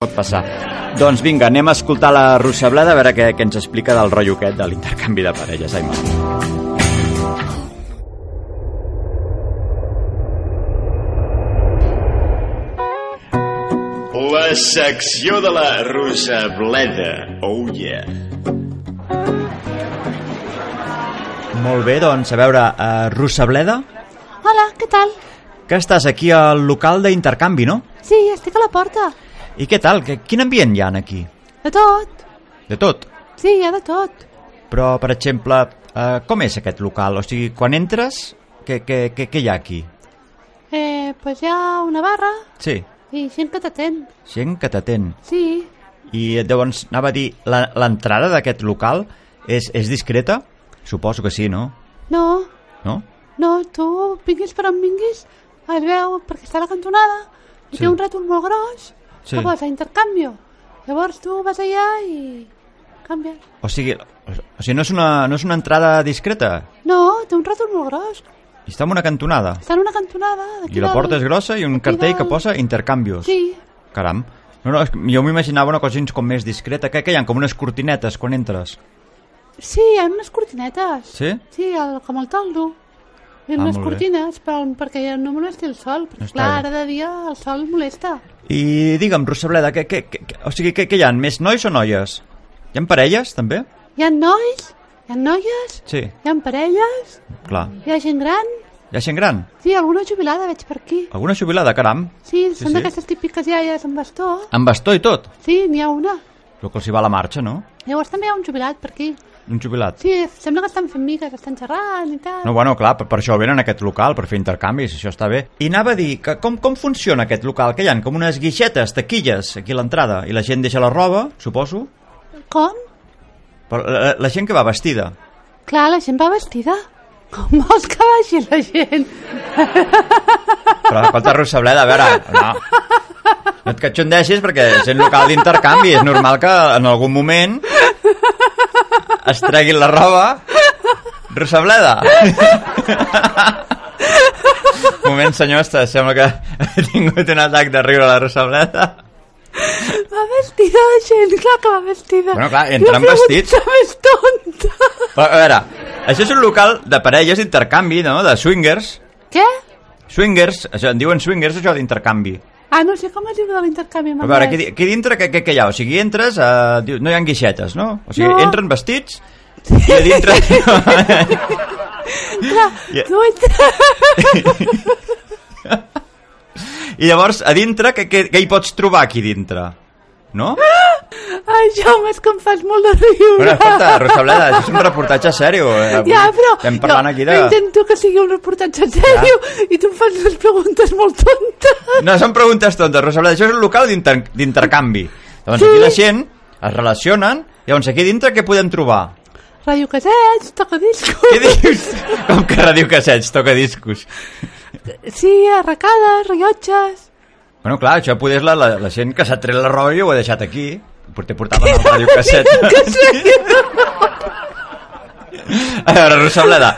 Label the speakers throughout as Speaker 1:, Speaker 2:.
Speaker 1: pot passar. Doncs vinga, anem a escoltar la Russablada a veure què, què ens explica del rotllo aquest de l'intercanvi de parelles, Aimar.
Speaker 2: La secció de la russa bleda. Oh yeah.
Speaker 1: Molt bé, doncs, a veure, uh, Russableda,
Speaker 3: Hola, què tal?
Speaker 1: que estàs aquí al local d'intercanvi, no?
Speaker 3: Sí, estic a la porta.
Speaker 1: I què tal? Que, quin ambient hi ha aquí?
Speaker 3: De tot.
Speaker 1: De tot.
Speaker 3: Sí, hi ha de tot.
Speaker 1: Però, per exemple, uh, com és aquest local? O sigui, quan entres, què, què, què, què hi ha aquí?
Speaker 3: Eh, pues hi ha una barra
Speaker 1: Sí,
Speaker 3: i gent que t'atén.
Speaker 1: gent que t'atén.
Speaker 3: Sí.
Speaker 1: I llavors anava a dir, la- l'entrada d'aquest local és, és discreta? Suposo que sí, no?
Speaker 3: No,
Speaker 1: No?
Speaker 3: no, tu vinguis per on vinguis, es veu perquè està a la cantonada i
Speaker 1: Sí.
Speaker 3: té un rètol molt gros
Speaker 1: Sí.
Speaker 3: que posa intercanvio. Llavors tu vas allà i canvies.
Speaker 1: O sigui, o sigui no, és una, no és una entrada discreta?
Speaker 3: No, té un rètol molt gros.
Speaker 1: I està en una cantonada.
Speaker 3: Està en una cantonada. d'aquí
Speaker 1: I la
Speaker 3: del-
Speaker 1: porta és grossa i un
Speaker 3: d'aquí
Speaker 1: cartell que
Speaker 3: del-
Speaker 1: posa intercanvios.
Speaker 3: Sí,
Speaker 1: Caram. No, no, és que jo m'imaginava una cosa així com més discreta. Què, que hi ha? Com unes cortinetes quan entres.
Speaker 3: sí, hi ha unes cortinetes.
Speaker 1: Sí?
Speaker 3: Sí, el, com el toldo. I
Speaker 1: Ah,
Speaker 3: unes
Speaker 1: molt bé.
Speaker 3: cortines per, perquè ja no molesti el sol, perquè
Speaker 1: Està
Speaker 3: clar,
Speaker 1: bé.
Speaker 3: ara de dia el sol molesta.
Speaker 1: I digue'm, Rosableda, què, què, què, o sigui, què, què hi ha? Més nois o noies? Hi ha parelles, també?
Speaker 3: Hi ha nois, hi ha noies,
Speaker 1: Sí,
Speaker 3: hi ha parelles,
Speaker 1: clar.
Speaker 3: hi ha gent gran,
Speaker 1: Hi ha gent gran?
Speaker 3: sí, alguna jubilada veig per aquí.
Speaker 1: Alguna jubilada, caram.
Speaker 3: Sí,
Speaker 1: Sí,
Speaker 3: sí són
Speaker 1: sí.
Speaker 3: d'aquestes típiques iaies amb bastó.
Speaker 1: Amb bastó i tot.
Speaker 3: Sí, n'hi ha una.
Speaker 1: El que els hi va a la marxa, no?
Speaker 3: Llavors també hi ha un jubilat per aquí.
Speaker 1: Un jubilat.
Speaker 3: Sí, sembla que estan fent miques, estan xerrant i tal.
Speaker 1: No, bueno, clar, per, per això venen a aquest local, per fer intercanvis, això està bé. I anava a dir, que com, com funciona aquest local? Que hi ha com unes guixetes, taquilles, aquí a l'entrada, i la gent deixa la roba, suposo,
Speaker 3: Com?
Speaker 1: però la, la gent que va vestida.
Speaker 3: Clar, la gent va vestida. Com vols que vagi la gent?
Speaker 1: Però escolta, Rosableda, a veure, no. No et catxondeixis perquè és un local d'intercanvi, és normal que en algun moment es treguin la roba. Rosableda! Un moment, senyor, està- sembla que ha tingut un atac de riure la Rosableda.
Speaker 3: Va vestida de gent, clar que va vestida.
Speaker 1: Bueno, clar, entren
Speaker 3: la
Speaker 1: vestits.
Speaker 3: La més tonta.
Speaker 1: Però, a veure, això és un local de parelles d'intercanvi, no?, de swingers.
Speaker 3: Què?
Speaker 1: Swingers, això en diuen swingers, això d'intercanvi.
Speaker 3: Ah, no sé com es diu de l'intercanvi.
Speaker 1: A veure, aquí, aquí dintre què, què, què hi ha? O sigui, entres, uh, diu, no hi ha guixetes, no? O sigui,
Speaker 3: No.
Speaker 1: no. entren vestits i a dintre...
Speaker 3: Clar,
Speaker 1: Ja.
Speaker 3: tu entres...
Speaker 1: I llavors, a dintre, què, què, què hi pots trobar aquí dintre? No?
Speaker 3: Ai, Jaume, és que em fas molt de riure.
Speaker 1: Bueno, escolta, Rosableda, això és un reportatge sèrio. Eh?
Speaker 3: ja, però...
Speaker 1: Estem parlant
Speaker 3: jo
Speaker 1: aquí de...
Speaker 3: Intento que sigui un reportatge sèrio i tu em fas unes preguntes molt tontes.
Speaker 1: No, són preguntes tontes, Rosableda. Això és un local d'inter- d'intercanvi. Llavors,
Speaker 3: Sí.
Speaker 1: aquí la gent es relacionen. Llavors, aquí dintre què podem trobar?
Speaker 3: Ràdio Casets, toca discos...
Speaker 1: Què dius? Com que ràdio cassets, toca discos.
Speaker 3: Sí, arracades, rellotges...
Speaker 1: Bueno, clar, això poder és la, la, la gent que s'ha tret la roba i ho ha deixat aquí. Porter portava el radiocasset. A veure, Rosableda,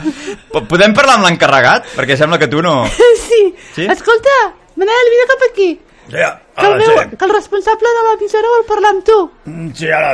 Speaker 1: po- podem parlar amb l'encarregat? Perquè sembla que tu no...
Speaker 3: Sí.
Speaker 1: Sí? Ah,
Speaker 3: Escolta, Manel, vine cap aquí.
Speaker 2: Ja,
Speaker 3: Que el, meu, que el responsable de l'emissora vol parlar amb tu.
Speaker 2: Sí, ara...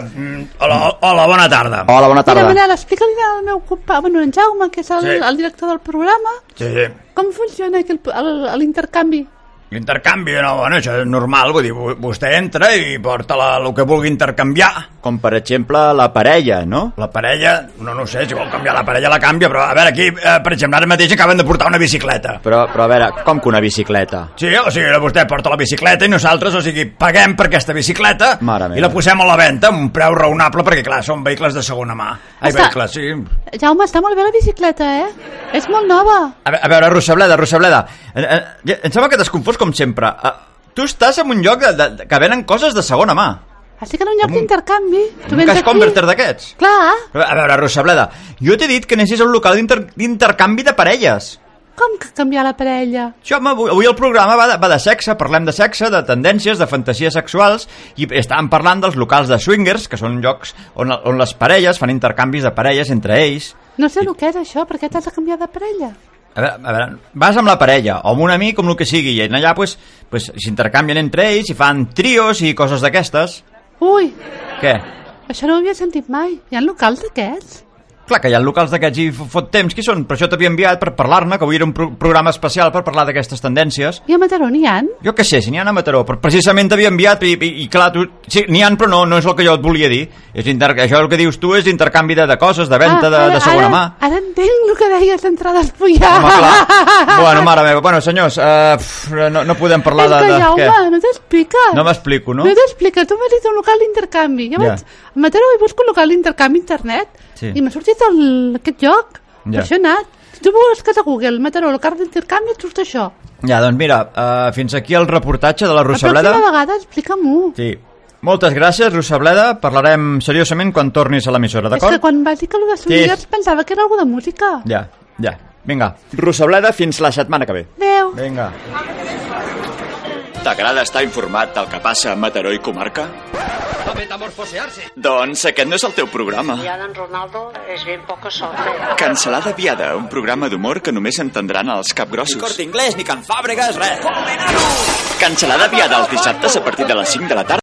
Speaker 2: Hola, hola, bona tarda.
Speaker 1: Hola, bona
Speaker 3: Mira, Manel, explica'm al meu company, bueno, en Jaume, que és el,
Speaker 2: Sí.
Speaker 3: el director del programa,
Speaker 2: Sí, sí.
Speaker 3: com funciona aquest- el- l'intercanvi?
Speaker 2: L'intercanvi, no, bueno, això és normal, vull dir, vo- vostè entra i porta la, el que vulgui intercanviar.
Speaker 1: Com per exemple la parella, no?
Speaker 2: La parella, no, no ho sé, si vol canviar la parella la canvia, però a veure, aquí, eh, per exemple, ara mateix acaben de portar una bicicleta.
Speaker 1: Però, però a veure, com que una bicicleta?
Speaker 2: Sí, o sigui, vostè porta la bicicleta i nosaltres, o sigui, paguem per aquesta bicicleta
Speaker 1: Mare meva.
Speaker 2: i la posem a la venda amb un preu raonable perquè, clar, són vehicles de segona mà. Ai,
Speaker 3: Està-
Speaker 2: vehicles, sí.
Speaker 3: Jaume, està molt bé la bicicleta, eh? És molt nova.
Speaker 1: A ve- a veure, Rosableda, Rosableda, eh, eh, ja- em sembla que t'has confós com sempre. Eh, Tu estàs en un lloc de, de, que venen coses de segona mà.
Speaker 3: Estic en un lloc
Speaker 1: Com un-
Speaker 3: d'intercanvi. Tu
Speaker 1: Un
Speaker 3: vens
Speaker 1: cash
Speaker 3: aquí.
Speaker 1: converter d'aquests.
Speaker 3: Clar,
Speaker 1: Però, A veure, Rosableda, jo t'he dit que anessis a un local d'inter- d'intercanvi de parelles.
Speaker 3: com que canviar la parella?
Speaker 1: Això, home, avui, avui el programa va de, va de sexe, parlem de sexe, de tendències, de fantasies sexuals, i estàvem parlant dels locals de swingers, que són llocs on, on les parelles fan intercanvis de parelles entre ells.
Speaker 3: No sé el que és això, per què t'has de canviar de parella?
Speaker 1: A veure, a veure, vas amb la parella, o amb un amic, com el que sigui, i allà pues, pues, s'intercanvien entre ells, i fan trios i coses d'aquestes.
Speaker 3: Ui,
Speaker 1: Què?
Speaker 3: això no ho havia sentit mai. Hi ha locals d'aquests?
Speaker 1: Clar que hi ha locals d'aquests i fo- fot temps, qui són? Per això t'havia enviat per parlar-ne, que avui era un pro programa especial per parlar d'aquestes tendències.
Speaker 3: I a Mataró n'hi ha?
Speaker 1: Jo què sé, si n'hi ha a Mataró, però precisament t'havia enviat i, i, i clar, tu... Sí, n'hi ha, però no, no és el que jo et volia dir. És inter... Això el que dius tu és d'intercanvi de, de coses, de venda de, de segona
Speaker 3: Ah, ara,
Speaker 1: mà.
Speaker 3: Ara entenc el que deies d'entrar despullar.
Speaker 1: Home, clar. bueno, mare meva. Bueno, senyors, uh, pf, no, no podem parlar
Speaker 3: És
Speaker 1: de...
Speaker 3: que,
Speaker 1: de...
Speaker 3: Jaume,
Speaker 1: què?
Speaker 3: no t'explica.
Speaker 1: No m'explico, no?
Speaker 3: No t'explica, tu m'has dit un local d'intercanvi. Jo
Speaker 1: Ja.
Speaker 3: vaig a Mataró i busco un local d'intercanvi a internet
Speaker 1: Sí.
Speaker 3: i m'ha sortit el, aquest lloc.
Speaker 1: Ja.
Speaker 3: Per això he anat. Si tu busques a Google Mataró, local d'intercanvi, et surt això.
Speaker 1: Ja, doncs mira, uh, fins aquí el reportatge de la
Speaker 3: La
Speaker 1: Rosableda.
Speaker 3: pròxima vegada explica'm-ho.
Speaker 1: Sí. Moltes gràcies, Rosableda. Parlarem seriosament quan tornis a l'emissora,
Speaker 3: És que
Speaker 1: d'acord?
Speaker 3: quan vas dir que el de Solidars pensava que era algo de música.
Speaker 1: Ja, ja. Vinga. Rosableda fins la setmana que ve.
Speaker 3: Adéu.
Speaker 1: Vinga.
Speaker 2: T'agrada estar informat del que passa a Mataró i comarca? Doncs aquest no és el teu programa.
Speaker 4: Ya don Ronaldo es bien poco sorte.
Speaker 2: Cancelada Viada, un programa d'humor que només entendran els capgrossos.
Speaker 1: Inglés, ni Can Fàbregas, res.
Speaker 2: Cancelada Viada els dissabtes a partir de les 5 de la tarda.